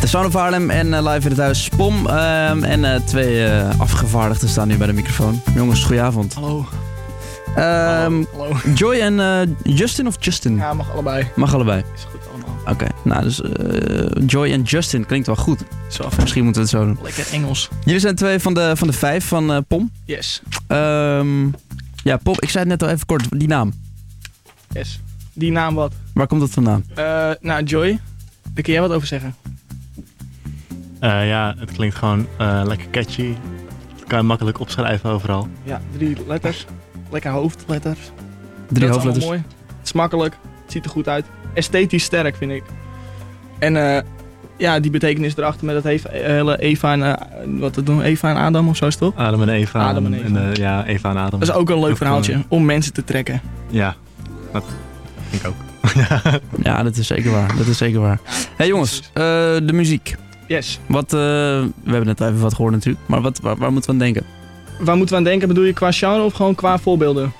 The Sound of Harlem en eh, live in het huis Spom. Ehm, en eh, twee eh, afgevaardigden staan nu bij de microfoon. Jongens, goedenavond. Hallo. Ehm Hallo. Joy en eh, Justin of Justin? Ja, mag allebei. Mag allebei. Is goed allemaal. Oké, nou dus eh, Joy en Justin klinkt wel goed. Zo Misschien moeten we het zo doen. Lekker Engels. Jullie zijn twee van de, van de vijf van eh, Pom. Yes. Ehm, ja, Pom, ik zei het net al even kort, die naam. Yes. Die naam wat? Waar komt dat vandaan? Eh, nou, Joy. Daar kun jij wat over zeggen. Eh, ja, het klinkt gewoon eh, lekker catchy. Dat kan je makkelijk opschrijven overal. Ja, drie letters. Lekker hoofdletters. Drie Drie hoofdletters. mooi. Het is makkelijk. Het ziet er goed uit. Esthetisch sterk, vind ik. En eh, ja, die betekenis erachter met dat heeft- hele Eva en... eh, wat dat doen? Eva en Adam of zo is het toch? Adam en Eva. Adam en Eva. eh, ja, Eva en Adam. Dat is ook eh, een leuk Ook, verhaaltje. Om mensen te trekken. Ja, dat vind ik ook. Ja, dat is zeker waar. Dat is zeker waar. hey, jongens, eh, de muziek. Yes. Wat, eh, we hebben net even wat gehoord natuurlijk, maar wat, waar, waar moeten we aan denken? Waar moeten we aan denken? Bedoel je qua genre of gewoon qua voorbeelden?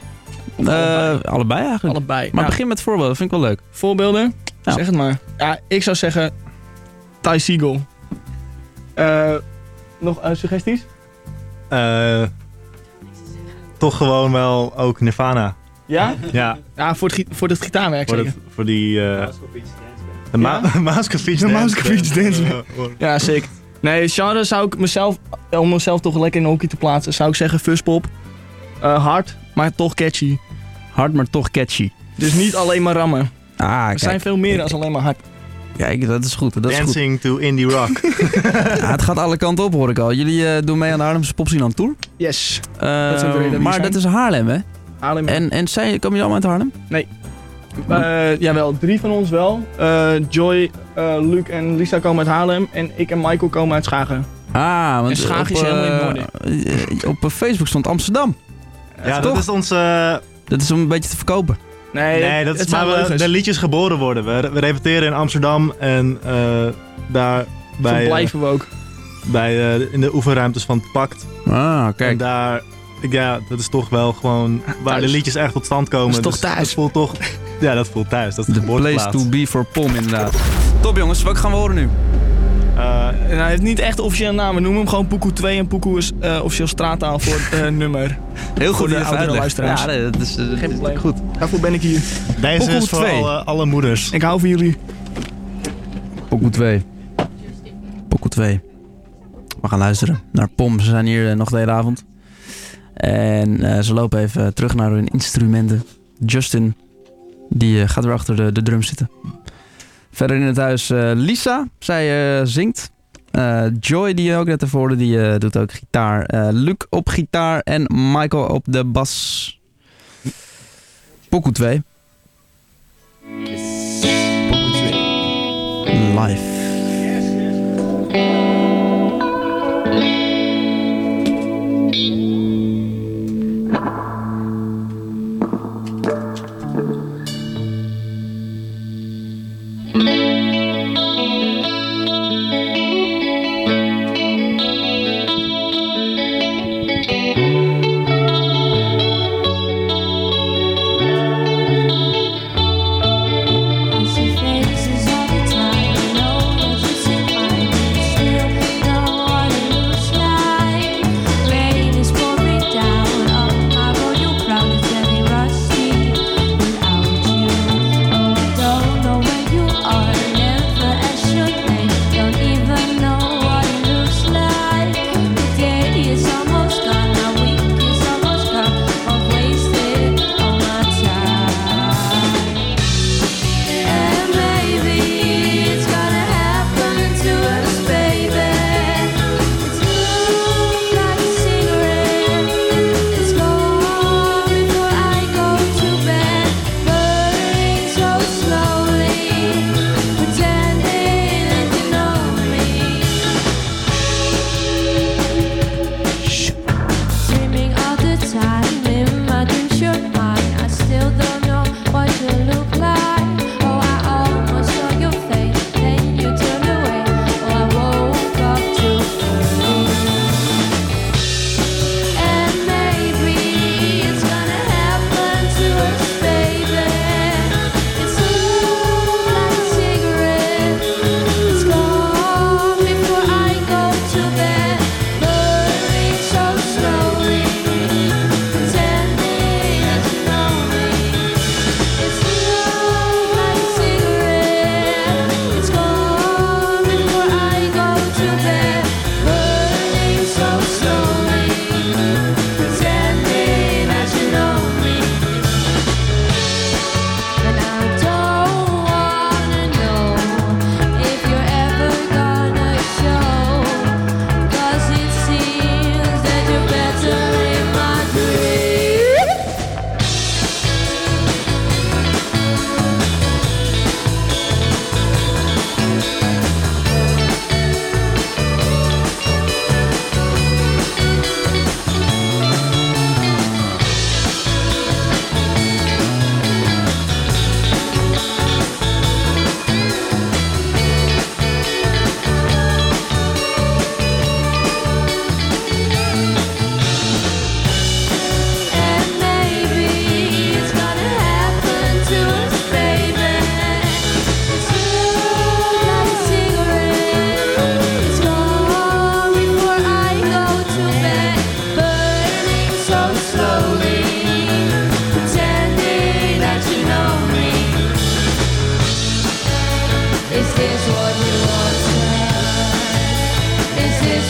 Of allebei? Eh, allebei eigenlijk. Allebei. Maar Nou, begin met voorbeelden, vind ik wel leuk. Voorbeelden? Ja. Zeg het maar. Nou. Ja, ik zou zeggen Ty Siegel. Eh, nog eh, suggesties? Eh, toch gewoon wel ook Nirvana. Ja? Ja, Ja, voor het, gi- voor het gitaarwerk voor, zeker. het, voor die... eh Ja? de Ma- Maaskevich Dance. Maaskevich Dance Band. Eh, hoor. Ja, zeker. Nee, genre zou ik mezelf, eh, om mezelf toch lekker in een hockey te plaatsen, zou ik zeggen fuzzpop. Eh, hard, maar toch catchy. Hard, maar toch catchy. Dus niet alleen maar rammen. Ah, Er kijk, zijn veel meer dan alleen maar hard. kijk, dat is goed. Dat is goed. Dancing to indie rock. Ja, het gaat alle kanten op, hoor ik al. Jullie eh, doen mee aan de Haarlemse Popscene aan Tour. Yes. Eh, Dat zijn de reden dat we maar hier dat is zijn. Haarlem, hè? Haarlem. En, En, en zijn, komen jullie allemaal uit Haarlem? Eh, jawel, drie van ons wel. Eh, Joy, eh, Luc en Lisa komen uit Haarlem. En ik en Michael komen uit Schagen. Ah, want En Schaag op, is helemaal in het eh, eh, op eh, Facebook stond Amsterdam. ja, toch? dat is onze... eh, Dat is om een beetje te verkopen. Nee, Nee, dat het is zijn waar we leugens. de liedjes geboren worden. We, we repeteren in Amsterdam en eh, daar Zo bij, eh, blijven we ook. bij, eh, in de oefenruimtes van het Pact. Ah, En kijk. daar, ja, dat is toch wel gewoon waar de Ah, thuis. liedjes echt tot stand komen. Dat is toch Dus thuis? Dat voelt toch, ja, dat voelt thuis. Dat is de The place geboorteplaats. to be for Pom, inderdaad. Top, jongens. Wat gaan we horen nu? Eh, En Nou, hij heeft niet echt een officiële naam. We noemen hem gewoon Poekoe 2 en Poekoe is eh, officieel straattaal voor het eh, nummer. Heel Voor goed de dat je oudere het uitlegt. luisteraars. Ja, nee, dat is, eh, dat is probleem. goed. Daarvoor ben ik hier. deze Pokoe is voor twee. alle, alle moeders. Ik hou van jullie. Pokoe 2. Pokoe 2. We gaan luisteren naar Pom. Ze zijn hier eh, nog de hele avond. En eh, ze lopen even eh, terug naar hun instrumenten. Justin, die eh, gaat weer achter de, de drum zitten. Verder in het huis eh, Lisa, zij eh, zingt. Eh, Joy, die je ook net ervoor hoorde, die eh, doet ook gitaar. Eh, Luc op gitaar en Michael op de bas. Pokoe 2. Pokoe 2. Live. Readiness for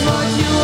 what you